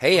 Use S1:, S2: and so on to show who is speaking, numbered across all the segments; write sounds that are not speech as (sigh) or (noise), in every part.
S1: Hey,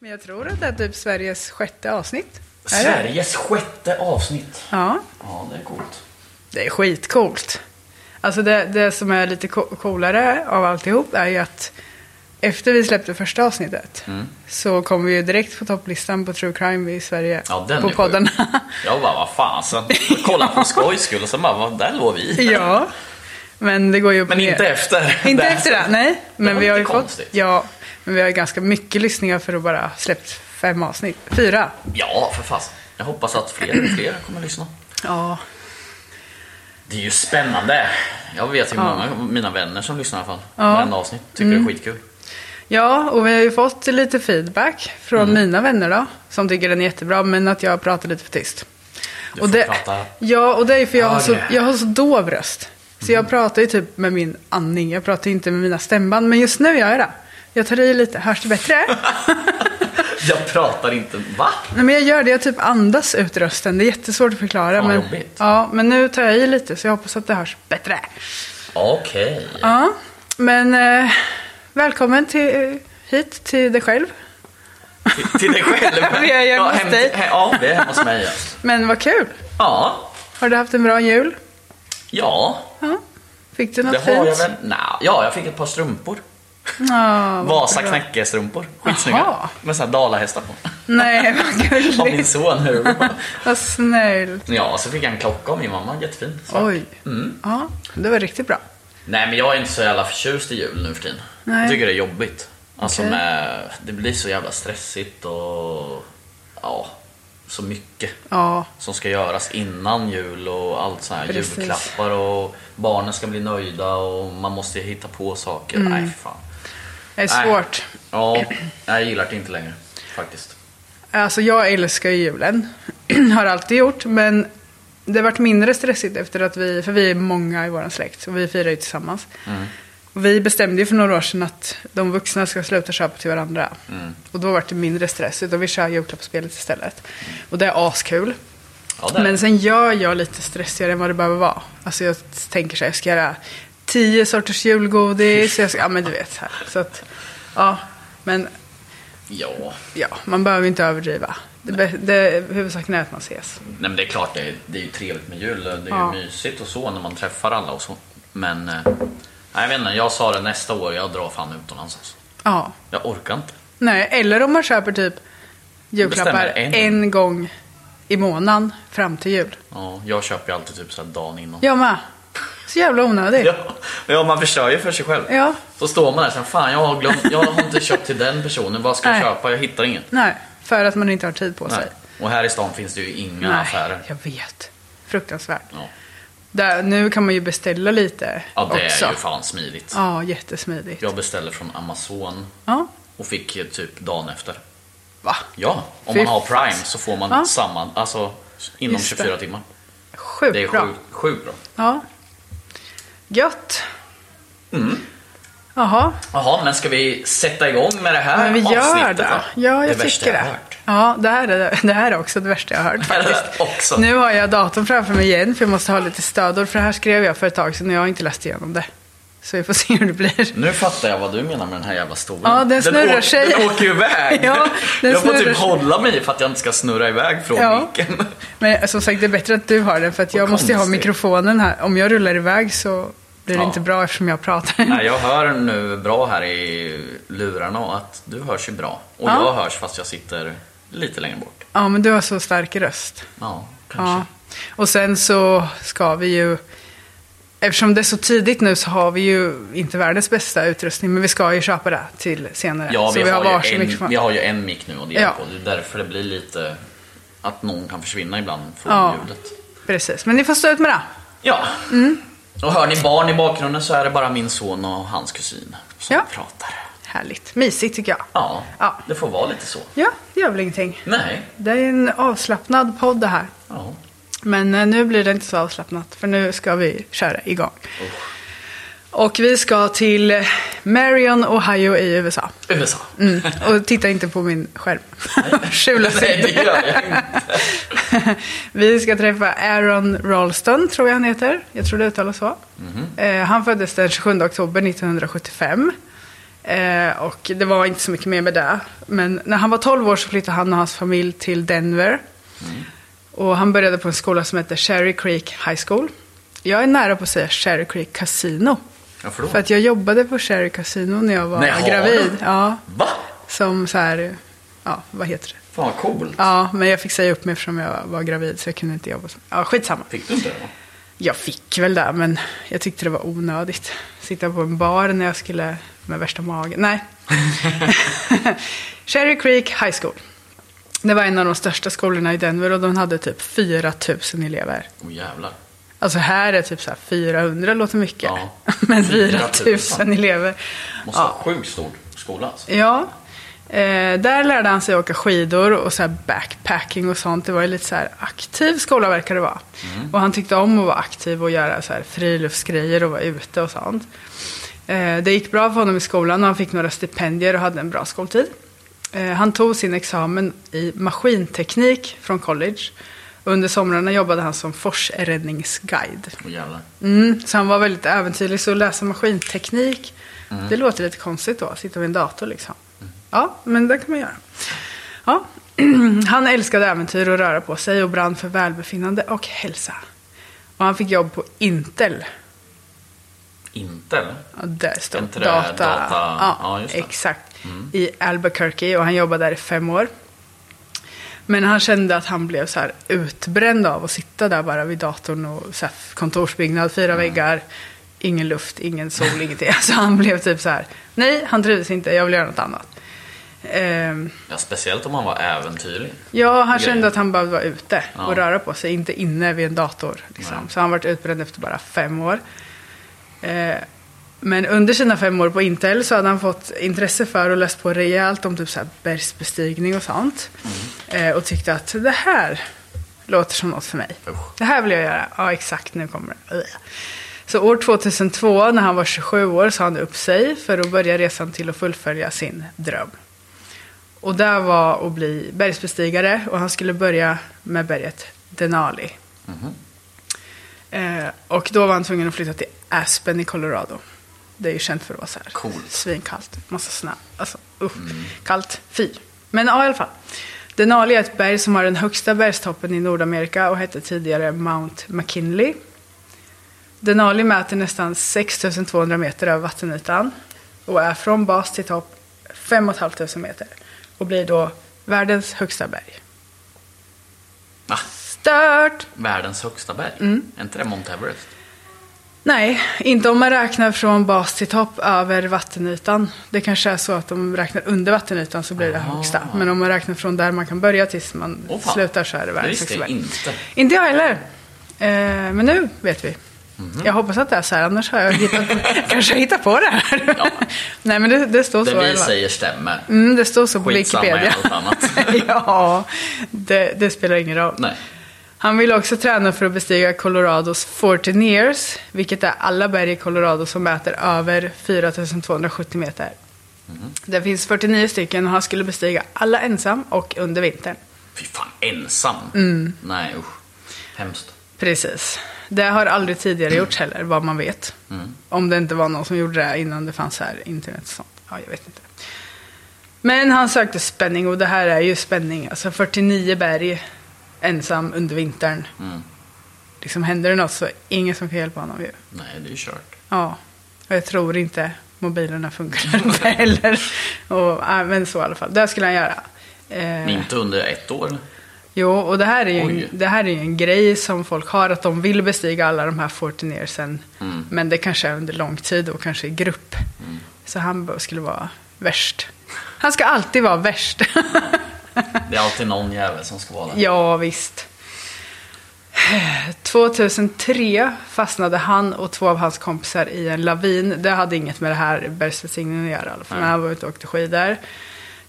S2: Men jag tror att det är typ Sveriges sjätte avsnitt. Är det?
S3: Sveriges sjätte avsnitt.
S2: Ja,
S3: Ja, det är coolt.
S2: det är skitcoolt. Alltså det, det som är lite co- coolare av alltihop är ju att efter vi släppte första avsnittet
S3: Mm.
S2: så kom vi ju direkt på topplistan på true crime i Sverige
S3: Ja, den
S2: på
S3: är sjuk.
S2: poddarna.
S3: Jag bara, vad fan, så kolla på skojs skull och sen bara, vad, där låg
S2: (laughs)
S3: vi.
S2: ja, men det går ju upp
S3: Men
S2: och ner.
S3: inte efter.
S2: Inte
S3: det.
S2: efter det, nej. Men
S3: var
S2: vi har ju
S3: lite
S2: fått,
S3: konstigt.
S2: ja, men vi har ju ganska mycket lyssningar för att bara ha släppt fem avsnitt. Fyra.
S3: Ja, för fasen. Jag hoppas att fler och fler kommer att lyssna.
S2: Ja,
S3: Det är ju spännande. Jag vet ju många av mina vänner som lyssnar i alla fall.
S2: Ja. Mm.
S3: Varenda avsnitt. Tycker det är skitkul.
S2: Ja, och vi har ju fått lite feedback från
S3: Mm.
S2: mina vänner då, som tycker den är jättebra, men att jag pratar lite för tyst.
S3: Du får prata-
S2: Ja, och det är ju för jag har, så,
S3: Högre.
S2: jag har så dov röst. Så
S3: Mm.
S2: jag pratar ju typ med min andning, jag pratar ju inte med mina stämband, men just nu gör jag det. Jag tar i lite, hörs det
S3: (laughs)
S2: bättre?
S3: Jag pratar inte, va?
S2: Nej, men jag gör det, jag typ andas ut rösten, det är jättesvårt att förklara.
S3: Fan, vad
S2: men,
S3: jobbigt.
S2: ja, men nu tar jag i lite, så jag hoppas att det hörs bättre.
S3: Okej.
S2: Ja, men eh, välkommen till, eh, hit, till dig själv.
S3: Till- Till dig själv.
S2: (laughs) Vi är hemma hos
S3: hem-
S2: dig.
S3: he- Ja, vi är hemma hos mig. ja.
S2: Men vad kul!
S3: Ja.
S2: Har du haft en bra jul?
S3: Ja,
S2: Ja. Fick du
S3: det
S2: något
S3: har jag
S2: fint?
S3: väl. Nja, ja, jag fick ett par strumpor.
S2: Ja, vad
S3: Vasa
S2: bra.
S3: knäckestrumpor. Skitsnygga.
S2: Jaha.
S3: Med såna här
S2: (laughs)
S3: dalahästar på.
S2: Nej,
S3: (laughs)
S2: vad
S3: Av min
S2: gulligt.
S3: son nu.
S2: Vad snällt.
S3: Ja, så fick jag en klocka av min mamma. Jättefin. Så.
S2: Oj.
S3: Mm.
S2: Ja, det var riktigt bra.
S3: Nej, men jag är inte så jävla förtjust i jul nu för tiden.
S2: Nej.
S3: Jag tycker det är jobbigt. Alltså
S2: Okej.
S3: med, det blir så jävla stressigt och ja, så mycket
S2: Ja,
S3: som ska göras innan jul och allt sånt här.
S2: Precis.
S3: Julklappar och barnen ska bli nöjda och man måste hitta på saker.
S2: Mm.
S3: Nej, för fan.
S2: det är
S3: Nej.
S2: svårt.
S3: Ja, jag gillar det inte längre faktiskt.
S2: Alltså, jag älskar ju julen. (clears throat) Har alltid gjort, men det har varit mindre stressigt efter att vi, för vi är många i vår släkt och vi firar ju tillsammans.
S3: Mm.
S2: Och Vi bestämde ju för några år sedan att de vuxna ska sluta köpa till varandra.
S3: Mm.
S2: Och då var det mindre stress, utan vi kör julklappsspelet istället.
S3: Mm.
S2: Och det är askul.
S3: Ja, det är
S2: Men
S3: det.
S2: sen gör jag lite stressigare än vad det behöver vara. Alltså jag tänker så här, jag ska göra tio sorters julgodis. Jag ska, ja men du vet. Så, här. så att, ja. Men
S3: ja.
S2: ja, man behöver inte överdriva. Det, bä- det, huvudsaken är att man ses.
S3: Nej men det är klart, det är, det är ju trevligt med jul. Det är
S2: Ja.
S3: ju mysigt och så när man träffar alla och så. Men, eh, nej, jag vet inte, jag sa det nästa år, jag drar fan utomlands alltså.
S2: Ja.
S3: Jag orkar inte.
S2: Nej, eller om man köper typ julklappar
S3: Bestämmer en.
S2: en. gång i månaden fram till jul.
S3: Ja, jag köper ju alltid typ så här dagen innan.
S2: (laughs) Jag med. Så jävla onödigt.
S3: Ja, ja, man förstör ju för sig själv.
S2: Ja.
S3: Så står man där sen, fan jag har glömt, jag har inte köpt till den personen, vad ska jag
S2: Nej.
S3: köpa? Jag hittar inget.
S2: Nej, för att man inte har tid på sig.
S3: Nej. Och här i stan finns det ju inga affärer.
S2: jag vet. Fruktansvärt.
S3: Ja.
S2: Där, nu kan man ju beställa lite
S3: Ja, det
S2: också.
S3: är ju fan smidigt.
S2: Ja, jättesmidigt.
S3: Jag beställer från Amazon
S2: Ja,
S3: och fick eh, typ dagen efter.
S2: va?
S3: Ja, om
S2: Fy
S3: man har
S2: fan.
S3: Prime så får man
S2: Ja.
S3: samma, alltså inom
S2: Just det.
S3: 24 timmar.
S2: Sjukt
S3: Det är
S2: bra.
S3: sjukt sjukt bra. Mm.
S2: Ja. Gött. Jaha,
S3: Jaha, men ska vi sätta igång med det här
S2: men vi gör
S3: avsnittet
S2: det.
S3: då?
S2: Ja, jag
S3: det värsta
S2: tycker
S3: jag har
S2: det.
S3: hört. (laughs)
S2: Ja, det här, är, det här är också det värsta jag har hört faktiskt.
S3: Också.
S2: Nu har jag datorn framför mig igen för jag måste ha lite stödord för det här skrev jag för ett tag sedan och jag har inte läst igenom det. Så vi får se hur det blir.
S3: Nu fattar jag vad du menar med den här jävla stolen.
S2: Ja, den snurrar
S3: åker,
S2: sig.
S3: Den åker iväg.
S2: (laughs) Ja, den
S3: jag får
S2: snurrar
S3: typ
S2: sig.
S3: hålla mig för att jag inte ska snurra iväg från
S2: Ja.
S3: micken.
S2: Men eh, som sagt, det är bättre att du har den för att
S3: Vad
S2: jag måste ju ha
S3: konstigt.
S2: mikrofonen här. Om jag rullar iväg så blir det
S3: Ja.
S2: inte bra eftersom jag pratar.
S3: Nej, jag hör nu bra här i lurarna och att du hörs ju bra. Och
S2: Ja.
S3: jag hörs fast jag sitter lite längre bort.
S2: (laughs) Ja, men du har så stark röst.
S3: Ja, kanske.
S2: Ja. Och sen så ska vi ju... Eftersom det är så tidigt nu så har vi ju inte världens bästa utrustning, men vi ska ju köpa det till senare.
S3: Ja,
S2: så
S3: vi, har
S2: varsin
S3: ju en,
S2: mikrofon.
S3: vi har ju en mick nu och det är
S2: liksom. Ja.
S3: på. Det är därför det blir lite att någon kan försvinna ibland från
S2: Ja.
S3: ljudet.
S2: Precis, men ni får stå ut med det.
S3: Ja.
S2: Mm.
S3: Och hör ni barn i bakgrunden så är det bara min son och hans kusin som
S2: Ja.
S3: pratar.
S2: Härligt. Mysigt tycker jag.
S3: Ja,
S2: Ja.
S3: det får vara lite så.
S2: Ja, det gör väl ingenting.
S3: Nej.
S2: Det är en avslappnad podd det här.
S3: Ja.
S2: Men eh, nu blir det inte så avslappnat, för nu ska vi köra igång. Och vi ska till Marion, Ohio i USA.
S3: USA. (laughs)
S2: Mm. Och titta inte på min skärm. (laughs) Skjula sig
S3: Nej, det
S2: inte.
S3: gör jag inte.
S2: (laughs) Vi ska träffa Aaron Ralston, tror jag han heter. Jag tror det uttalas så. Eh, han föddes den 27 oktober 1975. Eh, och det var inte så mycket mer med det. Men när han var 12 år så flyttade han och hans familj till Denver. Och han började på en skola som heter Cherry Creek High School. Jag är nära på att säga Cherry Creek Casino.
S3: Varför då?
S2: För att jag jobbade på Cherry Casino när jag var
S3: Nej, har
S2: gravid.
S3: du?
S2: Ja,
S3: Va?
S2: som så här, ja, vad heter det?
S3: Fan vad coolt.
S2: Ja, men jag fick säga upp mig eftersom jag var gravid så jag kunde inte jobba. som- Ja, skitsamma.
S3: Fick du inte det? då?
S2: Jag fick väl det, men jag tyckte det var onödigt. Sitta på en bar när jag skulle med värsta magen.
S3: (laughs)
S2: Nej. Cherry Creek High School. Det var en av de största skolorna i Denver och de hade typ 4 000 elever.
S3: Åh jävlar.
S2: Alltså här är typ så här 400 låter mycket.
S3: Ja.
S2: (laughs) Men 4 000
S3: 4 000.
S2: elever.
S3: Måste vara sjukt stor skola alltså.
S2: Ja. Eh, där lärde han sig åka skidor och så här backpacking och sånt. Det var ju lite så här aktiv skola verkar det vara. Och han tyckte om att vara aktiv och göra så här friluftsgrejer och vara ute och sånt. Eh, det gick bra för honom i skolan och han fick några stipendier och hade en bra skoltid. Eh, han tog sin examen i maskinteknik från college. Under somrarna jobbade han som forsräddningsguide.
S3: Åh jävlar.
S2: Mm, så han var väldigt äventyrlig. Så att läsa maskinteknik, det låter lite konstigt då. Sitta vid en dator liksom. Ja, men det kan man göra. Ja. (clears throat) Han älskade äventyr och röra på sig och brann för välbefinnande och hälsa. Och han fick jobb på Intel.
S3: Inte eller?
S2: Ja, där står
S3: Inte det
S2: data.
S3: data-
S2: Ja,
S3: ja, just det. Mm.
S2: exakt. I Albuquerque och han jobbade där i fem år. Men han kände att han blev så här utbränd av att sitta där bara vid datorn och så här kontorsbyggnad,
S3: Mm.
S2: fyra väggar, ingen luft, ingen sol, ingenting. (laughs) Så han blev typ så här, nej, han trivdes inte, jag vill göra något annat. Ehm,
S3: Ja, speciellt om man var äventyrlig.
S2: Ja, han
S3: grejer.
S2: kände att han behövde vara ute och
S3: Ja.
S2: röra på sig, inte inne vid en dator.
S3: Nej.
S2: Liksom. Så han varit utbränd efter bara fem år. Eh, men under sina fem år på Intel så hade han fått intresse för och läst på rejält om typ så här bergsbestigning och sånt. Eh, och tyckte att det här låter som något för mig.
S3: Usch.
S2: Det här vill jag göra. Ja, exakt, nu kommer det. Ugh. Så år 2002, när han var 27 år, sa han upp sig för att börja resan till att fullfölja sin dröm. Och där var att bli bergsbestigare och han skulle börja med berget Denali. Eh, och då var han tvungen att flytta till Aspen i Colorado. Det är ju känt för att vara så här
S3: Coolt. Mm.
S2: svinkallt, massa snö. Alltså usch, kallt, fy. Men ja, i alla fall. Denali är ett berg som har den högsta bergstoppen i Nordamerika och hette tidigare Mount McKinley. Denali mäter nästan 6200 meter över vattenytan och är från bas till topp 5500 meter och blir då världens högsta berg.
S3: Va?
S2: Stört!
S3: Världens högsta berg.
S2: Mm.
S3: Är inte det Mount Everest?
S2: Nej, inte om man räknar från bas till topp över vattenytan. Det kanske är så att om man räknar under vattenytan så blir det
S3: Aha.
S2: högsta. Men om man räknar från där man kan börja tills man
S3: Ah. Åh, fan.
S2: slutar så är det
S3: Det
S2: världens
S3: visste
S2: högsta
S3: jag
S2: berg.
S3: inte.
S2: Inte jag heller. Eh, men nu vet vi.
S3: Mhm.
S2: Jag hoppas att det är så här, annars har jag hittat,
S3: (laughs)
S2: kanske jag hittar på det här.
S3: Ja.
S2: (laughs) Nej, men det, det står så.
S3: Det
S2: i
S3: vi
S2: alla fall.
S3: säger stämmer.
S2: Mm, det står så på
S3: Skitsamma
S2: (laughs)
S3: i
S2: Wikipedia.
S3: allt annat.
S2: ja, det, det spelar ingen roll.
S3: Nej.
S2: Han vill också träna för att bestiga Colorados 49ers, vilket är alla berg i Colorado som mäter över 4270 meter. Det finns 49 stycken och han skulle bestiga alla ensam och under vintern.
S3: Fy fan, ensam? Nej usch. Hemskt.
S2: Precis. Det har aldrig tidigare gjorts heller, vad man vet. Om det inte var någon som gjorde det innan det fanns här internet och sånt. Ja, jag vet inte. Men han sökte spänning och det här är ju spänning. Alltså 49 berg ensam under vintern. Liksom händer det något så är det ingen som kan hjälpa honom ju.
S3: Nej, det är ju kört.
S2: Ja, och jag tror inte mobilerna funkar (laughs) inte heller. Och, ja, men så i alla fall. Det skulle han göra. Eh,
S3: Men inte under ett år eller?
S2: Jo, och det här, är ju en,
S3: Oj.
S2: det här är ju en grej som folk har, att de vill bestiga alla de här 49ersen. Men det kanske är under lång tid och kanske i grupp. Så han bara skulle vara värst. Han ska alltid vara värst. (laughs)
S3: Det är alltid någon jävel som ska vara där.
S2: ja, visst. 2003 fastnade han och två av hans kompisar i en lavin. Det hade inget med det här bergsbestigningen att göra i alla fall. Men han var ute och åkte skidor.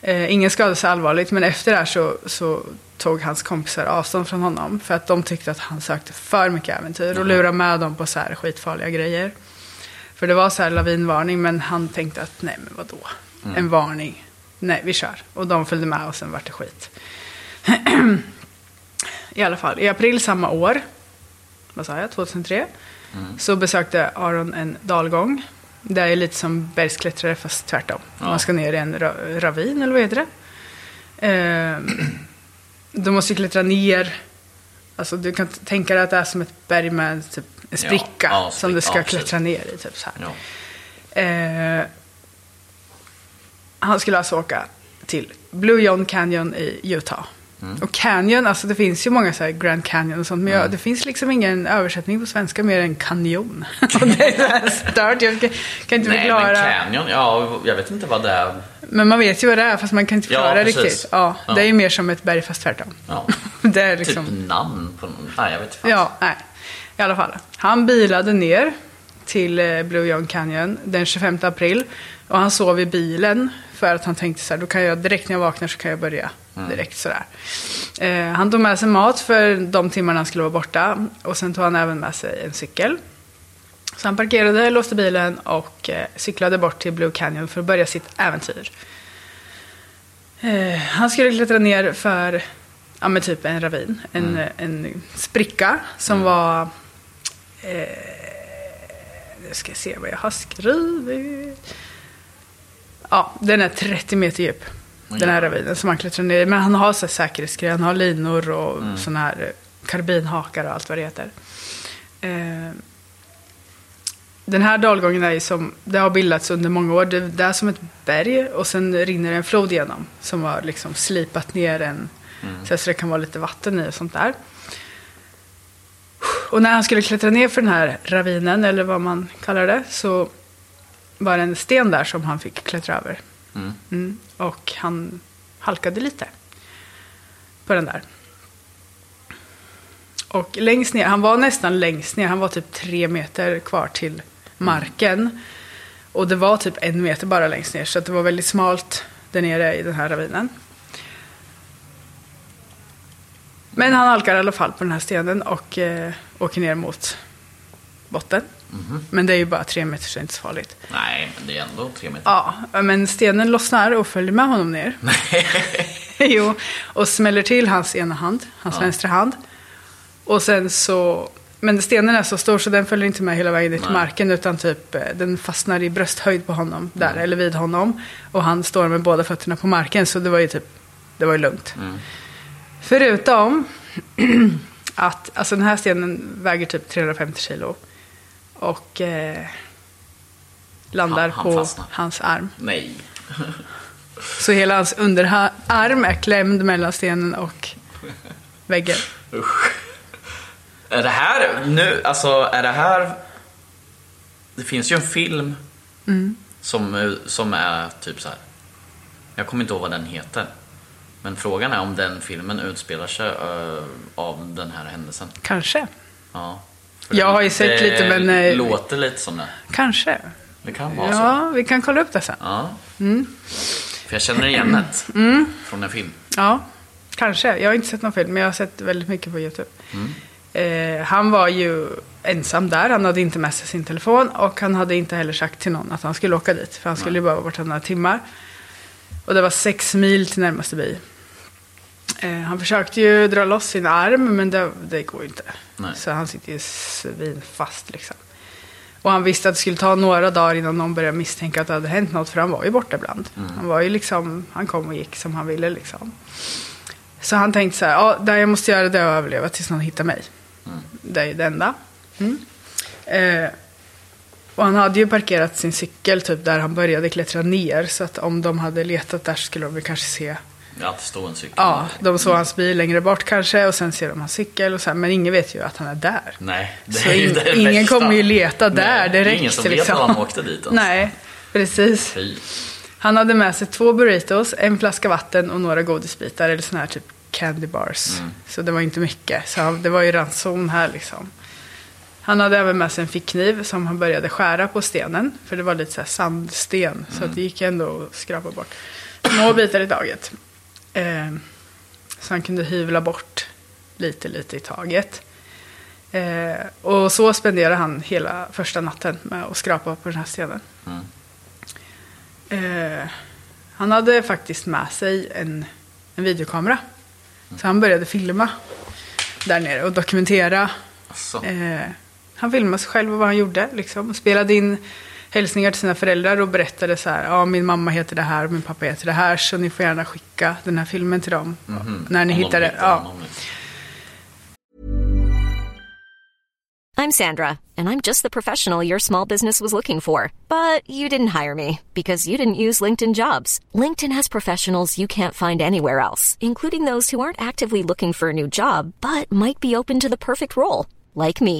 S2: Eh, ingen skadade sig allvarligt, men efter det här så, så tog hans kompisar avstånd från honom. För att de tyckte att han sökte för mycket äventyr och lurade med dem på så här skitfarliga grejer. För det var så här lavinvarning, men han tänkte att nej men vadå? En varning. Nej, vi kör. Och de följde med och sen vart det skit. I alla fall, i april samma år, vad sa jag, 2003,
S3: Mm.
S2: så besökte Aron en dalgång. Det är lite som bergsklättrare fast tvärtom.
S3: Ja.
S2: Man ska ner i en ra- ravin eller vad heter det? Ehm, du måste ju klättra ner. Alltså du kan t- tänka dig att det är som ett berg med typ, en spricka
S3: ja,
S2: som du
S3: spricka,
S2: ska
S3: ja, precis.
S2: klättra ner i. Typ, så här.
S3: Ja.
S2: Eh, han skulle alltså åka till Blue John Canyon i Utah.
S3: Mm.
S2: Och Canyon, alltså det finns ju många så här Grand Canyon och sånt, men jag, det finns liksom ingen översättning på svenska mer än
S3: (laughs)
S2: kanjon. (laughs) Och det är så här stört, jag kan, kan inte
S3: Nej,
S2: förklara.
S3: men
S2: Men,
S3: Canyon, ja, jag vet inte vad det är.
S2: man vet ju vad det är, fast man kan inte
S3: Ja,
S2: förklara
S3: precis.
S2: riktigt. Ja,
S3: Ja.
S2: Det är ju mer som ett berg fast tvärtom. (laughs)
S3: Ja.
S2: det är liksom...
S3: Typ namn på någon. Nej, jag vet inte.
S2: Ja, nej. I alla fall. Han bilade ner till eh, Blue John Canyon den 25 april. Och han sov i bilen för att han tänkte så här, då kan jag direkt när jag vaknar så kan jag börja direkt sådär. Eh, han tog med sig mat för de timmarna han skulle vara borta. Och sen tog han även med sig en cykel. Så han parkerade, låste bilen och eh, cyklade bort till Blue Canyon för att börja sitt äventyr. Eh, han skulle klättra ner för ja, men typ en ravin, en, en spricka som var... Eh, nu ska jag se vad jag har skrivit. Ja, den är 30 meter djup. Den här ravinen som han klättrar ner i. Men han har så här säkerhetsgrejer, han har linor och mm. sådana här eh, karbinhakar och allt vad det heter. Eh, den här dalgången är ju som, det har bildats under många år. Det, det är som ett berg och sen rinner en flod igenom. Som har liksom slipat ner en, så, här, så det kan vara lite vatten i och sånt där. Och när han skulle klättra ner för den här ravinen, eller vad man kallar det, så var det en sten där som han fick klättra över. Mm. Och han halkade lite på den där. Och längst ner, han var nästan längst ner, han var typ tre meter kvar till marken. Och det var typ en meter bara längst ner, så att det var väldigt smalt där nere i den här ravinen. Men han halkar i alla fall på den här stenen och eh, åker ner mot botten. Men det är ju bara tre meter så det är inte så farligt.
S3: Nej, men det är ändå tre meter.
S2: Ja, men stenen lossnar och följer med honom ner. (laughs) jo, och smäller till hans ena hand, hans vänstra hand. Och sen så... Men stenen är så stor så den följer inte med hela vägen ner till
S3: Nej.
S2: marken utan typ eh, den fastnar i brösthöjd på honom där,
S3: Mm.
S2: eller vid honom. Och han står med båda fötterna på marken så det var ju typ, det var ju lugnt.
S3: Mm.
S2: Förutom (clears throat) att, alltså den här stenen väger typ 350 kilo. Och eh, landar
S3: Han- han
S2: på
S3: fastnar.
S2: hans arm.
S3: Nej.
S2: Så hela hans underarm är klämd mellan stenen och väggen.
S3: Usch. Är det här nu, alltså är det här... Det finns ju en film
S2: Mm.
S3: som, som är typ så här. Jag kommer inte ihåg vad den heter. Men frågan är om den filmen utspelar sig eh, av den här händelsen.
S2: Kanske.
S3: Ja. För
S2: Jag
S3: det-
S2: har ju sett
S3: det
S2: lite, men, eh,
S3: låter lite som det.
S2: Kanske.
S3: Det kan vara så.
S2: Ja, Mm. vi kan kolla upp det sen. Mm.
S3: Ja. För jag känner igen det från en film.
S2: Ja. Kanske. Jag har inte sett någon film, men jag har sett väldigt mycket på YouTube. Eh, han var ju ensam där, han hade inte med sig sin telefon och han hade inte heller sagt till någon att han skulle åka dit. För han skulle ju bara vara borta några timmar. Och det var sex mil till närmaste by. Eh, han försökte ju dra loss sin arm, men det, det går ju inte.
S3: Nej.
S2: Så han sitter ju svinfast liksom. Och han visste att det skulle ta några dagar innan någon började misstänka att det hade hänt något, för han var ju borta ibland. Han var ju liksom, han kom och gick som han ville liksom. Så han tänkte så här, ja, det jag måste göra det är att överleva tills någon hittar mig. Det är ju det enda. Mm. Eh, och han hade ju parkerat sin cykel typ där han började klättra ner, så att om de hade letat där skulle de väl kanske se
S3: Ja, att det står en cykel.
S2: Ja, de såg hans bil längre bort kanske och sen ser de hans cykel och så här, men ingen vet ju att han är där.
S3: Nej, det
S2: Så
S3: är ju
S2: in-
S3: det
S2: ingen
S3: värsta.
S2: kommer ju leta där
S3: Nej, det är
S2: direkt,
S3: ingen som vet
S2: liksom.
S3: var han åkte dit ens.
S2: Nej, precis.
S3: Fy.
S2: Han hade med sig två burritos, en flaska vatten och några godisbitar eller såna här typ candy bars. Så det var inte mycket. Så han, det var ju ranson här liksom. Han hade även med sig en fickkniv som han började skära på stenen. För det var lite så här sandsten, så att det gick ändå att skrapa bort. Små bitar i taget. Eh, så han kunde hyvla bort lite, lite i taget. Eh, och så spenderade han hela första natten med att skrapa på den här stenen. Eh, han hade faktiskt med sig en, en videokamera. Så han började filma där nere och dokumentera.
S3: Alltså,
S2: Eh, han filmade sig själv och vad han gjorde. Liksom. Och Spelade in hälsningar till sina föräldrar och berättade så här. Ja, min mamma heter det här och min pappa heter det här. Så ni får gärna skicka den här filmen till dem. När ni
S3: Mhm. om de
S2: hittar det.
S3: hittar
S2: Ja.
S3: honom liksom.
S4: I'm Sandra, and I'm just the professional your small business was looking for. But you didn't hire me because you didn't use LinkedIn jobs. LinkedIn has professionals you can't find anywhere else, including those who aren't actively looking for a new job but might be open to the perfect role, like me.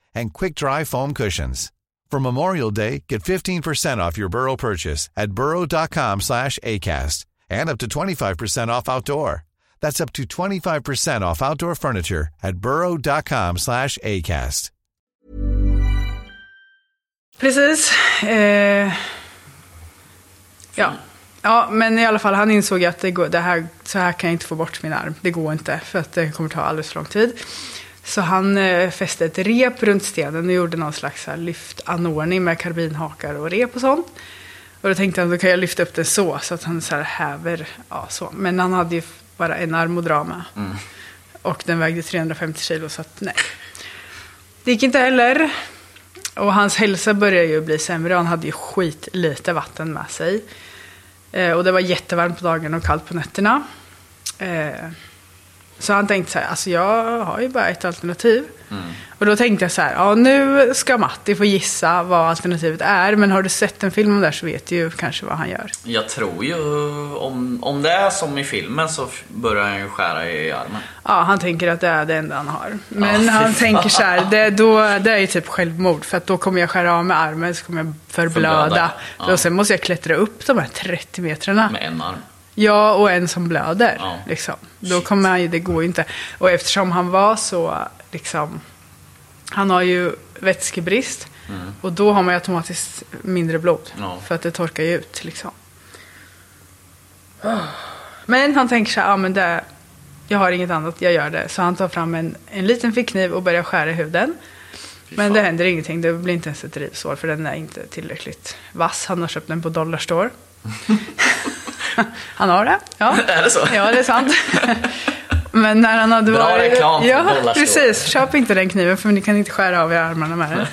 S5: and quick-dry foam cushions. For Memorial Day, get 15% off your Burrow purchase at burrow.com/acast and up to 25% off outdoor. That's up to 25% off outdoor furniture at burrow.com/acast.
S2: Precis. Eh, ja. ja, men i alla fall han insåg ju att det går, det här, så här kan jag inte få bort min arm. Det går inte för att det kommer ta alldeles för lång tid. Så han eh, fäste ett rep runt stenen och gjorde någon slags så här lyftanordning med karbinhakar och rep och sånt. Och då tänkte han, då kan jag lyfta upp det så, så att han så här häver. Ja, så. Men han hade ju bara en arm att dra med. Och den vägde 350 kilo, så att nej. Det gick inte heller. Och hans hälsa började ju bli sämre. Han hade ju skit lite vatten med sig. Eh, och det var jättevarmt på dagarna och kallt på nätterna. Eh, så han tänkte så här, alltså jag har ju bara ett alternativ. Och då tänkte jag så här, ja nu ska Matti få gissa vad alternativet är. Men har du sett en film om det här så vet du ju kanske vad han gör.
S3: Jag tror ju, om, om det är som i filmen så f- börjar han ju skära i armen.
S2: Ja, han tänker att det är det enda han har. Men
S3: Ja, fy
S2: han
S3: fan.
S2: tänker så här, det, då, det är ju typ självmord. För att då kommer jag skära av mig armen, så kommer jag förblöda.
S3: Förblöda, ja.
S2: Och sen måste jag klättra upp de här 30 metrarna.
S3: Med en arm.
S2: Ja, och en som blöder.
S3: Ja.
S2: Liksom. Då kommer han ju, det går ju inte. Och eftersom han var så, liksom, han har ju vätskebrist. Och då har man ju automatiskt mindre blod.
S3: Mm. Ja.
S2: För att det torkar ju ut liksom. Men han tänker så här, ja men det, jag har inget annat, jag gör det. Så han tar fram en, en liten fickkniv och börjar skära i huden. Men det händer ingenting, det blir inte ens ett rivsår för den är inte tillräckligt vass. Han har köpt den på Dollarstore.
S3: (laughs)
S2: han har det, ja.
S3: Är det så?
S2: Ja, det är
S3: (laughs)
S2: sant. Men när han hade
S3: Bra
S2: varit...
S3: reklam för
S2: Ja,
S3: Dollarstore.
S2: precis. Köp inte den kniven för ni kan inte skära av er armarna med den.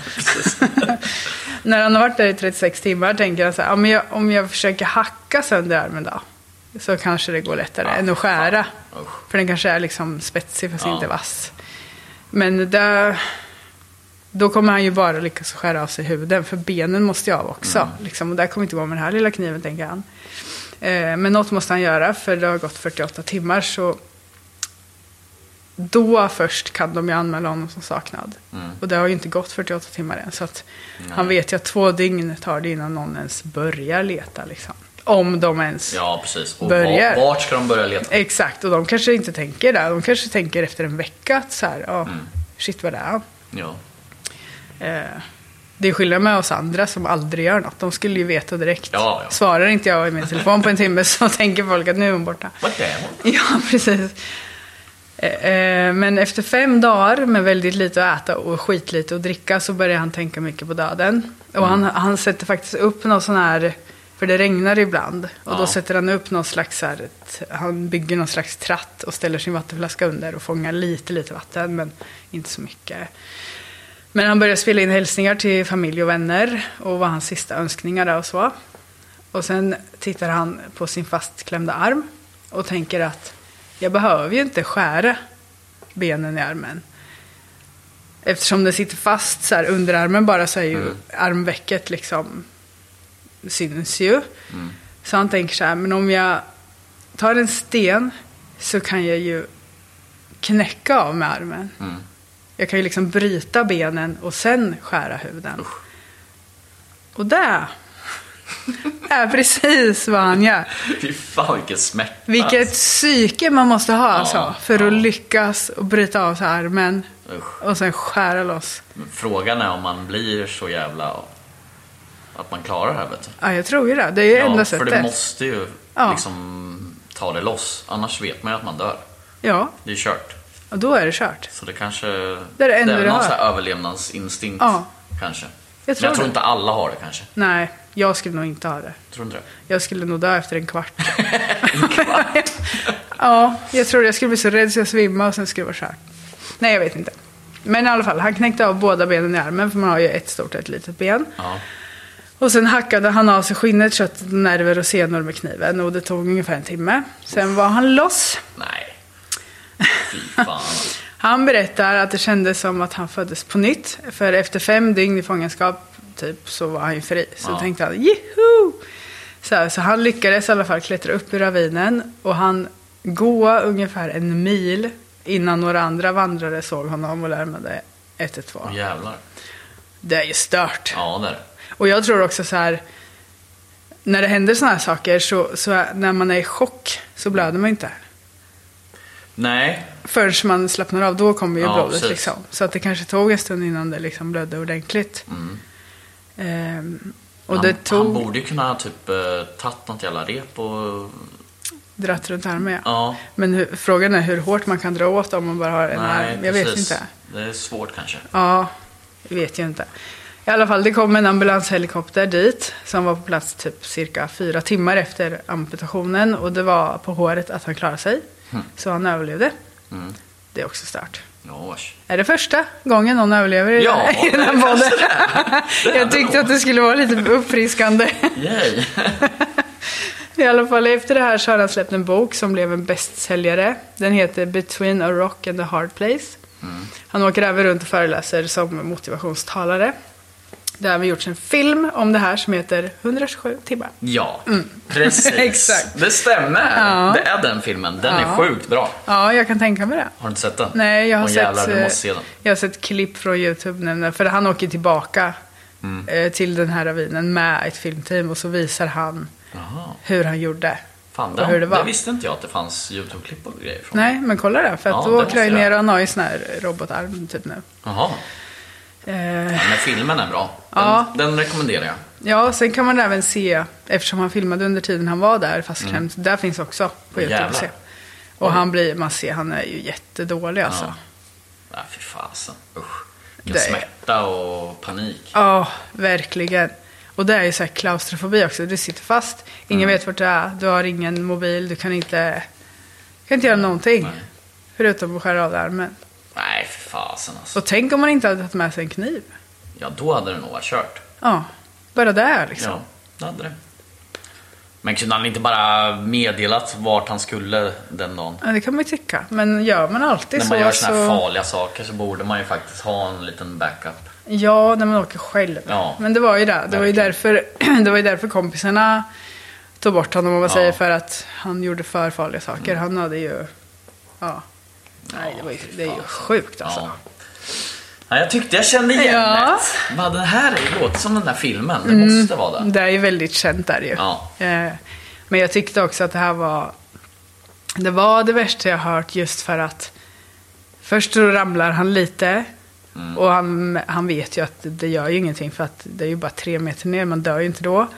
S2: (laughs) När han har varit där i 36 timmar tänker han så här, "Ja, men jag, om jag försöker hacka sönder armen då, så kanske det går lättare
S3: Ja,
S2: än att skära.
S3: fan. Usch.
S2: För den kanske är liksom spetsig fast
S3: Ja.
S2: inte vass. Men där, då kommer han ju bara lyckas skära av sig huden, för benen måste jag av också. Liksom, och där kommer inte gå med den här lilla kniven, tänker han. Eh, men något måste han göra, för det har gått 48 timmar. Så Då först kan de ju anmäla honom som saknad. Och det har ju inte gått 48 timmar än. Så att han vet ju att två dygn tar det innan någon ens börjar leta. Liksom. Om de ens...
S3: Ja, precis. Och
S2: Börjar.
S3: var, vart ska de börja leta?
S2: Exakt, och de kanske inte tänker det. De kanske tänker efter en vecka att så här, ja, shit vad det är.
S3: Ja.
S2: Eh, det är skillnad med oss andra som aldrig gör något. De skulle ju veta direkt.
S3: Ja, ja.
S2: Svarar inte jag i min telefon på en timme så (laughs) tänker folk att nu är hon borta.
S3: Vart är
S2: (laughs)
S3: hon?
S2: Ja, precis. Eh, eh, Men efter fem dagar med väldigt lite att äta och skitlite att dricka så börjar han tänka mycket på döden. Och han, han sätter faktiskt upp någon sån här, för det regnar ibland, och då
S3: Ja.
S2: sätter han upp någon slags, så här, ett- han bygger någon slags tratt och ställer sin vattenflaska under och fångar lite, lite vatten, men inte så mycket. Men han började spela in hälsningar till familj och vänner och vad hans sista önskningar är och så. Och sen tittar han på sin fastklämda arm och tänker att jag behöver ju inte skära benen i armen. Eftersom den sitter fast så här under armen bara så är ju armvecket liksom syns ju. Så han tänker så här, men om jag tar en sten så kan jag ju knäcka av med armen. Jag kan ju liksom bryta benen och sen skära huden. Och det är precis vad han gör.
S3: (laughs) Fy fan vilken smärta.
S2: Vilket psyke man måste ha alltså, för att
S3: ja.
S2: lyckas och bryta av sig armen
S3: Usch.
S2: och sen skära loss.
S3: Frågan är om man blir så jävla... Att man klarar det här vet du.
S2: Ja, jag tror ju det. Det är ju enda
S3: för
S2: sättet.
S3: det måste ju
S2: Ja.
S3: liksom ta det loss. Annars vet man ju att man dör.
S2: Ja,
S3: Det är kört.
S2: och då är det kört.
S3: Så det kanske...
S2: Det är det enda
S3: väl
S2: du
S3: någon
S2: har.
S3: sån här överlevnadsinstinkt.
S2: Ja.
S3: Kanske.
S2: tror
S3: Men jag tror
S2: det.
S3: inte alla har det kanske.
S2: Nej, jag skulle nog inte ha det.
S3: Tror inte det?
S2: Jag skulle nog dö efter en
S3: (laughs)
S2: kvart. (laughs) ja, jag tror jag skulle bli så rädd så jag svimmade och sen skulle det vara kört. Nej, jag vet inte. Men i alla fall, han knäckte av båda benen i armen, för man har ju ett stort och ett litet ben.
S3: Ja.
S2: Och sen hackade han av sig skinnet, kött, nerver och senor med kniven och det tog ungefär en timme. Sen var han loss.
S3: Nej.
S2: (laughs)
S3: Fy fan. alltså.
S2: Han berättar att det kändes som att han föddes på nytt. För efter fem dygn i fångenskap typ, så var han ju fri. Så
S3: Ja.
S2: tänkte han, juhu! Så, här, så han lyckades i alla fall klättra upp i ravinen och han gå ungefär en mil innan några andra vandrare såg honom och larmade 112.
S3: Åh, jävlar.
S2: Det är ju stört.
S3: Ja det är det.
S2: Och jag tror också så här, när det händer sådana här saker så, så är- när man är i chock så blöder man inte.
S3: Nej.
S2: Förrän man slappnar av, då kommer ju
S3: Ja,
S2: blodet
S3: precis.
S2: liksom. Så att det kanske tog en stund innan det liksom blödde ordentligt. Ehm, och
S3: Mm. han,
S2: det tog,
S3: han borde ju kunna ha typ eh, tagit något jävla rep och...
S2: dratt runt armen ja.
S3: Ja.
S2: Men hur, frågan är hur hårt man kan dra åt om man bara har en arm. Jag vet
S3: precis.
S2: inte.
S3: Det är svårt kanske.
S2: Ja, det vet jag inte. I alla fall, det kom en ambulanshelikopter dit som var på plats typ cirka fyra timmar efter amputationen och det var på håret att han klarade sig.
S3: Mm.
S2: Så han överlevde. Det är också stört.
S3: Ja, vars.
S2: Är det första gången någon överlever i
S3: Ja,
S2: den här- i den här
S3: det kanske
S2: podden? (laughs) Jag tyckte att det skulle vara lite uppfriskande.
S3: Yay.
S2: I alla fall efter det här så har han släppt en bok som blev en bästsäljare. Den heter Between a Rock and a Hard Place.
S3: Mm.
S2: Han åker även runt och föreläser som motivationstalare. Det har vi gjort en film om det här som heter 127 timmar.
S3: Ja, precis.
S2: Mm. (laughs) Exakt.
S3: Det stämmer. Det är den filmen. Den är sjukt bra.
S2: Ja, jag kan tänka mig det.
S3: Har du inte sett den?
S2: Nej, jag har,
S3: Åh, jävlar,
S2: sett,
S3: du
S2: eh,
S3: måste se den.
S2: jag har sett klipp från YouTube nämligen, för han åker tillbaka
S3: Mm.
S2: eh, till den här ravinen med ett filmteam och så visar han
S3: Jaha.
S2: hur han gjorde.
S3: Fan,
S2: och hur
S3: den,
S2: det
S3: det,
S2: var.
S3: visste inte jag att det fanns YouTube-klipp och grejer från.
S2: Nej, men kolla det, för att
S3: Ja, det
S2: då åker
S3: måste
S2: han ju
S3: jag.
S2: ner och han har ju sån här robotarm typ nu.
S3: Jaha.
S2: Eh,
S3: Men filmen är bra. Den,
S2: Ja.
S3: den rekommenderar jag.
S2: ja, sen kan man även se, eftersom han filmade under tiden han var där fastklämd, där finns också på
S3: Mm. Åh,
S2: YouTube att
S3: jävlar.
S2: se. Och han blir, man ser, han är ju jättedålig alltså.
S3: Ja. Nej, fy fasen. Usch.
S2: Det
S3: Vilken
S2: är-
S3: smärta och panik.
S2: Ja, verkligen. Och det är ju så här klaustrofobi också. Du sitter fast, ingen
S3: Mm.
S2: vet vart du är, du har ingen mobil, du kan inte, kan inte göra någonting.
S3: Nej.
S2: Förutom att skära av dig armen.
S3: Nej, fy fasen alltså.
S2: Och tänk om man inte hade tagit med sig en kniv.
S3: Ja, då hade det nog varit kört.
S2: Ja, bara där liksom.
S3: Ja, det hade det. Men kunde han inte bara meddelat vart han skulle den dagen?
S2: Ja. det kan man ju tycka. Men gör man alltid
S3: När
S2: så... alltså-
S3: man gör såna här
S2: så...
S3: farliga saker så borde man ju faktiskt ha en liten backup.
S2: Ja, när man åker själv.
S3: Ja.
S2: Men det var ju det. Det var ju,
S3: Verkligen.
S2: därför, (clears throat) det var ju därför kompisarna tog bort honom, om man
S3: Ja. Mm.
S2: säger, för att han gjorde för farliga saker. Han hade ju... Ja. Nej, det, var ju, det är ju sjukt alltså.
S3: Ja. Ja, jag tyckte jag kände igen
S2: Ja. Mm.
S3: det. Bara, den här låter som den där filmen. Det måste vara det.
S2: Det är ju väldigt känt där ju.
S3: Ja.
S2: Eh, Men jag tyckte också att det här var det, var det värsta jag hört just för att först så ramlar han lite
S3: Mm.
S2: och han, han vet ju att det gör ju ingenting för att det är ju bara tre meter ner, man dör ju inte då.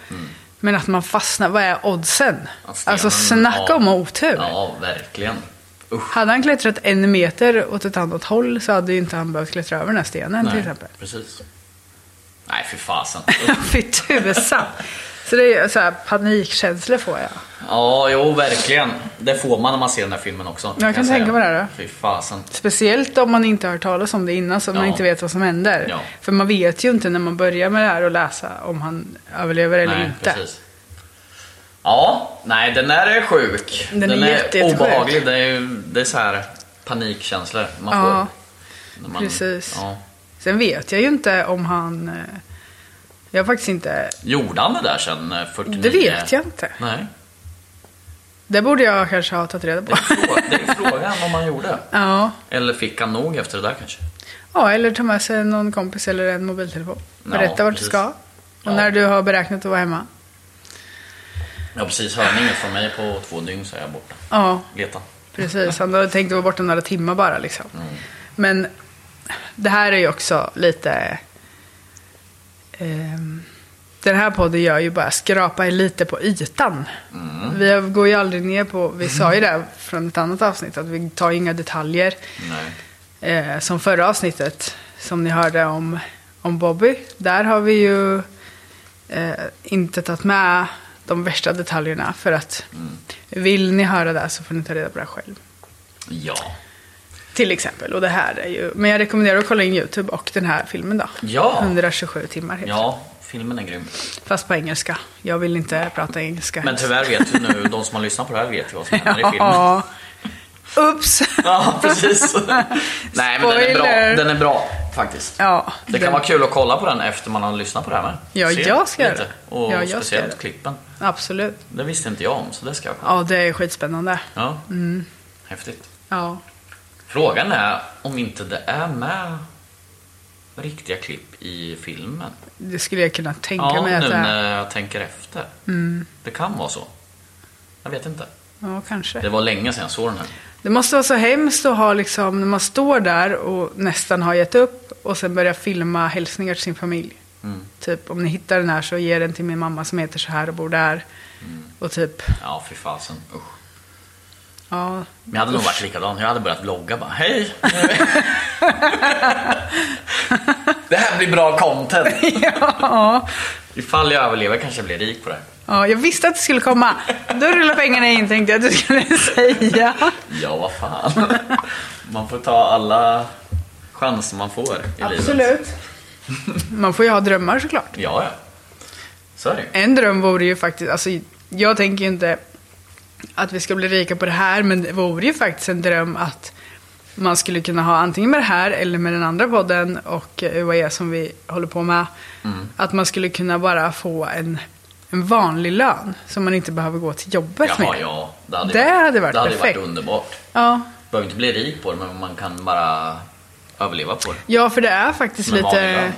S2: Men att man fastnar, vad är oddsen?
S3: Att stenen-
S2: Alltså snacka
S3: Mm. ja.
S2: om otur.
S3: Ja, verkligen. Usch.
S2: Hade han klättrat en meter åt ett annat håll så hade ju inte han behövt klättra över den här stenen till exempel. (laughs)
S3: precis. Nej, fy fasen.
S2: Fy tusan. Så det är ju så här panikkänslor får jag.
S3: ja, jo, verkligen. Det får man när man ser den här filmen också.
S2: kan
S3: jag
S2: tänka
S3: säga.
S2: mig det, då.
S3: Fy fasen.
S2: Speciellt om man inte har hört talas om det innan så man
S3: Ja.
S2: inte vet vad som händer.
S3: Ja.
S2: För man vet ju inte när man börjar med det här och läsa om han överlever eller
S3: Nej,
S2: inte.
S3: precis. Ja, nej den där är sjuk.
S2: Den är jätte, jättesjuk.
S3: obehaglig. Det är, ju- det är så här panikkänslor man
S2: Ja,
S3: får. när man-
S2: precis.
S3: Ja.
S2: Sen vet jag ju inte om han... eh, Jag har faktiskt inte...
S3: Gjorde han det där sen eh, 49?
S2: Det vet jag inte.
S3: Nej,
S2: Det borde jag kanske ha tagit reda
S3: det är,
S2: på.
S3: frå- det är frågan om han gjorde.
S2: (laughs) ja.
S3: Eller fick han nog efter det där kanske?
S2: ja, eller ta med sig någon kompis eller en mobiltelefon.
S3: Ja,
S2: Berätta vart
S3: precis.
S2: du ska. Och
S3: Ja.
S2: när du har beräknat att vara hemma.
S3: Jag har precis hört inget från mig på två dygn så är jag borta.
S2: Ja,
S3: Leta.
S2: Precis, han hade tänkt vara borta några timmar bara liksom. Men det här är ju också lite... ehm, den här podden gör ju bara skrapar lite på ytan. Vi går ju aldrig ner på, vi sa ju det från ett annat avsnitt, att vi tar inga detaljer.
S3: Nej.
S2: Eh, som förra avsnittet, som ni hörde om, om Bobby. Där har vi ju eh, inte tagit med de värsta detaljerna. För att vill ni höra det så får ni ta reda på det själv.
S3: Ja.
S2: Till exempel. Och det här är ju... Men jag rekommenderar att kolla in YouTube och den här filmen då.
S3: Ja.
S2: 127 timmar heter den.
S3: Ja, filmen är grym.
S2: Fast på engelska. Jag vill inte prata engelska.
S3: Men tyvärr vet ju
S2: (laughs)
S3: nu, de som har lyssnat på det här vet ju vad som händer i filmen.
S2: Ja. Ups!
S3: Ja, precis. Nej, men den är bra.
S2: Spoiler.
S3: Den är bra faktiskt.
S2: Ja,
S3: det kan
S2: den-
S3: vara kul att kolla på den efter man har lyssnat på det här med.
S2: Ja, jag ska göra
S3: lite.
S2: det.
S3: Och
S2: Ja, jag ska
S3: speciellt
S2: göra det.
S3: klippen.
S2: Absolut.
S3: Det visste inte jag om, så det ska jag kolla.
S2: Ja, det är skitspännande. Mm.
S3: Ja. Häftigt.
S2: Ja.
S3: Frågan är om inte det är med riktiga klipp i filmen.
S2: Det skulle jag kunna tänka
S3: Ja,
S2: mig att
S3: nu
S2: det är.
S3: när jag tänker efter.
S2: Mm.
S3: Det kan vara så. Jag vet inte.
S2: Ja, kanske.
S3: Det var länge sedan jag såg den här.
S2: Det måste vara så hemskt att ha liksom, när man står där och nästan har gett upp och sen börjar filma hälsningar till sin familj. Typ, om ni hittar den här så ge den till min mamma som heter så här och bor där. Och typ,
S3: Ja, fy fasen. Usch.
S2: ja.
S3: Men jag hade nog varit likadan. Jag hade börjat vlogga
S2: (laughs)
S3: bara, hej! det här blir bra content.
S2: ja.
S3: Ifall jag överlever kanske jag blir rik på det. här.
S2: Ja, jag visste att det skulle komma. Då rullar pengarna in tänkte jag att du skulle (laughs) säga.
S3: Ja, vad fan. Man får ta alla chanser man får i livet.
S2: Absolut. Man får ju ha drömmar såklart.
S3: Ja, ja. Så är det ju.
S2: En dröm vore ju faktiskt, alltså jag tänker ju inte att vi ska bli rika på det här, men det vore ju faktiskt en dröm att man skulle kunna ha antingen med det här eller med den andra podden och eh, UAE som vi håller på med.
S3: Mm.
S2: Att man skulle kunna bara få en, en vanlig lön som man inte behöver gå till jobbet
S3: Jaha,
S2: med.
S3: ja. Det hade,
S2: Det
S3: ju varit-
S2: hade varit
S3: det hade ju varit
S2: perfekt.
S3: underbart.
S2: Ja.
S3: Behöver inte bli rik på det, men man kan bara överleva på det.
S2: Ja, för det är faktiskt
S3: Som en vanlig
S2: lite
S3: lön.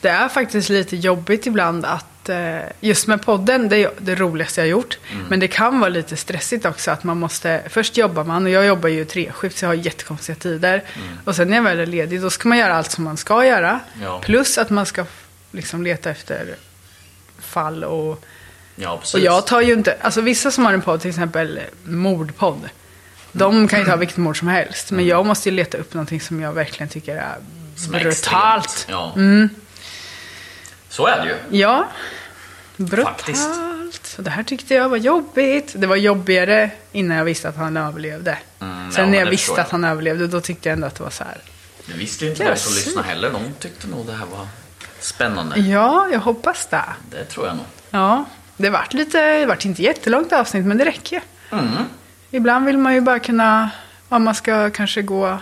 S2: Det är faktiskt lite jobbigt ibland att eh, Just med podden, det är det roligaste jag har gjort.
S3: Mm.
S2: Men det kan vara lite stressigt också att man måste Först jobbar man och jag jobbar ju treskift så jag har jättekonstiga tider.
S3: Mm.
S2: Och sen när jag väl är ledig då ska man göra allt som man ska göra.
S3: Ja.
S2: Plus att man ska f- liksom leta efter fall och
S3: Ja, precis.
S2: och jag tar ju inte, alltså vissa som har en podd, till exempel mordpodd. De kan ju
S3: Mm.
S2: ta vilket mord som helst. Men jag måste ju leta upp någonting som jag verkligen tycker är
S3: Som är extremt.
S2: brutalt. Mm.
S3: Ja. Så är det ju.
S2: Ja. Brutalt.
S3: Faktiskt.
S2: Så det här tyckte jag var jobbigt. Det var jobbigare innan jag visste att han överlevde.
S3: Mm, ja,
S2: Sen när
S3: men
S2: jag
S3: det
S2: visste
S3: förstår jag.
S2: att han överlevde, då tyckte jag ändå att det var så här.
S3: Det visste ju inte
S2: Det är
S3: de som
S2: synd.
S3: lyssnade heller. De tyckte nog det här var spännande.
S2: Ja, jag hoppas det.
S3: Det tror jag nog.
S2: Ja. Det vart lite, det vart inte jättelångt avsnitt, men det räcker ju.
S3: Mm.
S2: Ibland vill man ju bara kunna, om man ska kanske gå,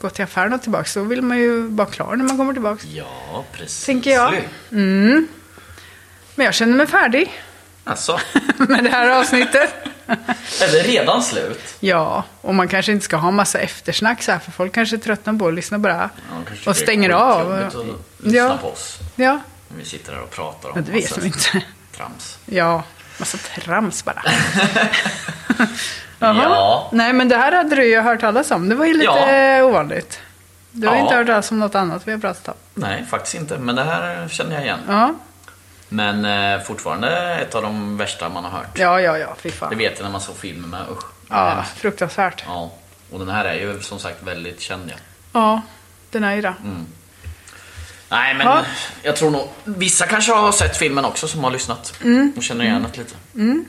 S2: gå till affären och tillbaka, så vill man ju vara klar när man kommer tillbaka.
S3: Ja, precis.
S2: Tänker jag. Men jag känner mig färdig (laughs)
S3: Alltså,
S2: med det här avsnittet.
S3: Eller redan slut.
S2: Ja, och man kanske inte ska ha massa eftersnack så här, för folk kanske tröttnar på att lyssna bara.
S3: Ja, de kanske
S2: och
S3: tycker
S2: stänger
S3: det är
S2: av.
S3: skitjobbigt att lyssna
S2: Ja.
S3: på oss.
S2: Ja,
S3: Om vi sitter här och pratar om
S2: Ja, det vet
S3: massa
S2: de inte.
S3: Trams.
S2: ja. Massa trams
S3: (laughs)
S2: bara.
S3: Ja.
S2: Nej, men det här hade du ju hört talas om. Det var ju lite
S3: Ja.
S2: ovanligt. Du har
S3: Ja.
S2: inte hört talas om något annat vi har pratat om.
S3: Nej, faktiskt inte. Men det här känner jag igen.
S2: Ja,
S3: Men eh, fortfarande ett av de värsta man har hört.
S2: ja, ja, ja fy
S3: Det
S2: fan.
S3: vet jag när man såg filmen med. Usch.
S2: Ja, fruktansvärt.
S3: ja. Och den här är ju som sagt väldigt känd. Ja.
S2: Ja, den är ju
S3: Mm,
S2: det.
S3: Nej, men
S2: Ja.
S3: jag tror nog... Vissa kanske har sett filmen också som har lyssnat.
S2: Mm.
S3: Och känner igen det lite. Men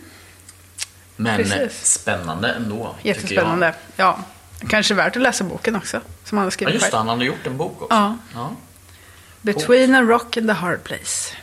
S3: eh,
S2: Precis.
S3: spännande ändå. tycker jag.
S2: Jättespännande. Ja. Kanske värt att läsa boken också, som han har
S3: Ja,
S2: skrivit
S3: just det.
S2: själv.
S3: Han hade gjort en bok också.
S2: Ja.
S3: Ja.
S2: Between a rock and a hard place.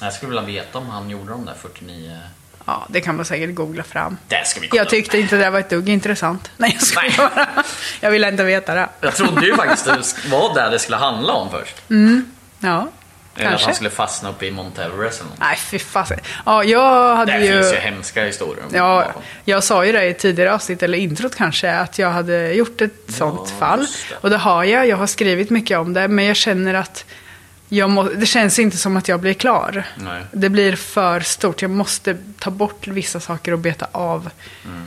S3: Jag skulle vilja veta om han gjorde de där 49...
S2: Ja, det kan man säkert googla fram.
S3: Det ska vi kolla
S2: Jag
S3: upp.
S2: tyckte inte det var ett dugg intressant. (laughs) Nej, jag
S3: Nej.
S2: skojar bara. Jag ville inte veta det.
S3: Jag trodde ju faktiskt det sk- var där det skulle handla om först.
S2: Ja,
S3: Eller att han
S2: kanske.
S3: skulle fastna uppe i Mount Everest eller något.
S2: Nej, fy fasen. Ja, jag hade
S3: Där
S2: ju...
S3: finns ju hemska historier. om
S2: Ja,
S3: bakom.
S2: jag sa ju det i tidigare avsnitt, eller introt kanske, att jag hade gjort ett sånt fall.
S3: just det.
S2: Och det har jag, jag har skrivit mycket om det, men jag känner att jag må, det känns inte som att jag blir klar.
S3: Nej.
S2: Det blir för stort, jag måste ta bort vissa saker och beta av,
S3: Mm.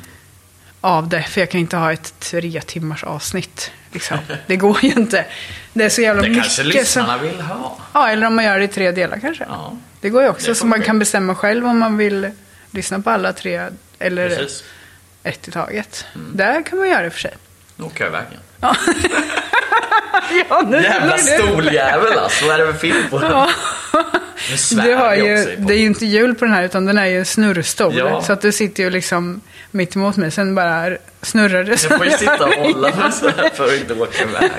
S2: av det, för jag kan inte ha ett tre timmars avsnitt. Liksom. Det går ju inte. Det är så jävla
S3: Det
S2: mycket.
S3: kanske
S2: som-
S3: lyssnarna vill ha.
S2: Ja, eller om man gör det i tre delar kanske.
S3: Ja.
S2: Det går ju
S3: Det
S2: också, så
S3: funkar
S2: man
S3: ju.
S2: kan bestämma själv om man vill lyssna på alla tre eller
S3: Precis. Mm.
S2: ett i taget. Där kan man göra i och för sig.
S3: Nu åker jag iväg igen.
S2: Ja, nu
S3: Jävla
S2: rullar det.
S3: stoljävel alltså. Vad är det för film på den? Nu svär
S2: Du har
S3: vi
S2: ju,
S3: också i podden.
S2: det är ju inte hjul på den här utan den är ju en snurrstol.
S3: Ja.
S2: Så att du sitter ju liksom mitt emot mig, sen bara snurrar det.
S3: Jag
S2: (laughs)
S3: får ju sitta och hålla mig sådär för att inte åka iväg.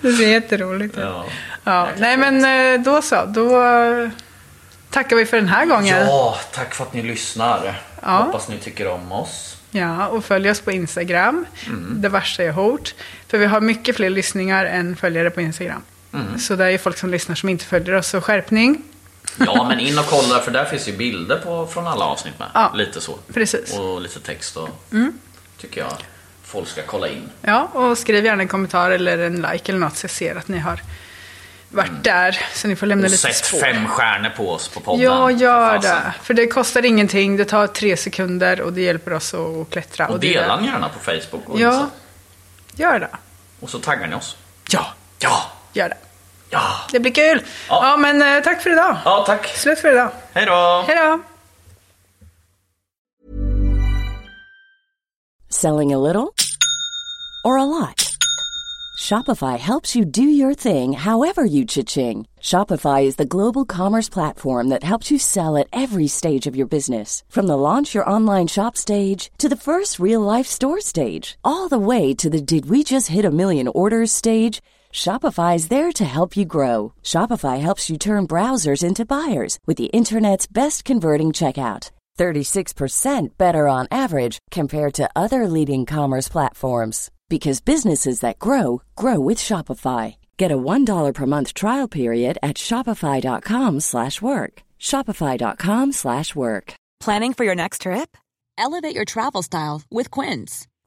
S2: Det ser jätteroligt ut.
S3: Ja.
S2: Ja. Nej men eh, då så, då eh, tackar vi för den här gången.
S3: ja, tack för att ni lyssnar. Hoppas ni tycker om oss.
S2: Ja, och följ oss på Instagram.
S3: Mm.
S2: Det värsta är hot. För vi har mycket fler lyssningar än följare på Instagram.
S3: Mm.
S2: Så det är ju folk som lyssnar som inte följer oss, så skärpning.
S3: Ja, men in och kolla för där finns ju bilder på, från alla avsnitt med.
S2: Ja, Mm.
S3: Lite så.
S2: precis.
S3: Och lite text och tycker jag folk ska kolla in.
S2: Ja, och skriv gärna en kommentar eller en like eller något så jag ser att ni har varit där. Så ni får lämna
S3: Mm. Och
S2: lite
S3: sätt
S2: spår.
S3: fem Alltså. stjärnor på oss på podden.
S2: Ja, gör
S3: Fasen.
S2: det. För det kostar ingenting, det tar tre sekunder och det hjälper oss att att klättra.
S3: Och
S2: det är
S3: dela
S2: det.
S3: den gärna på Facebook och
S2: Ja,
S3: Insta.
S2: gör det.
S3: Och så taggar ni oss.
S2: Ja,
S3: Ja!
S2: gör det.
S3: Ja!
S2: Det blir kul.
S3: Ja.
S2: Ja, men eh, tack för idag.
S3: Ja, tack.
S2: Slut för idag.
S3: Hej då!
S2: Hej då.
S6: Selling a little or a lot? Shopify helps you do your thing however you cha-ching. Shopify is the global commerce platform that helps you sell at every stage of your business. From the launch your online shop stage to the first real life store stage, all the way to the did we just hit a million orders stage. Shopify is there to help you grow. Shopify helps you turn browsers into buyers with the internet's best converting checkout. 36% better on average compared to other leading commerce platforms because businesses that grow grow with Shopify. Get a $1 per month trial period at shopify.com/work. slash work. shopify.com/work. slash work.
S7: Planning for your next trip? Elevate your travel style with Quince.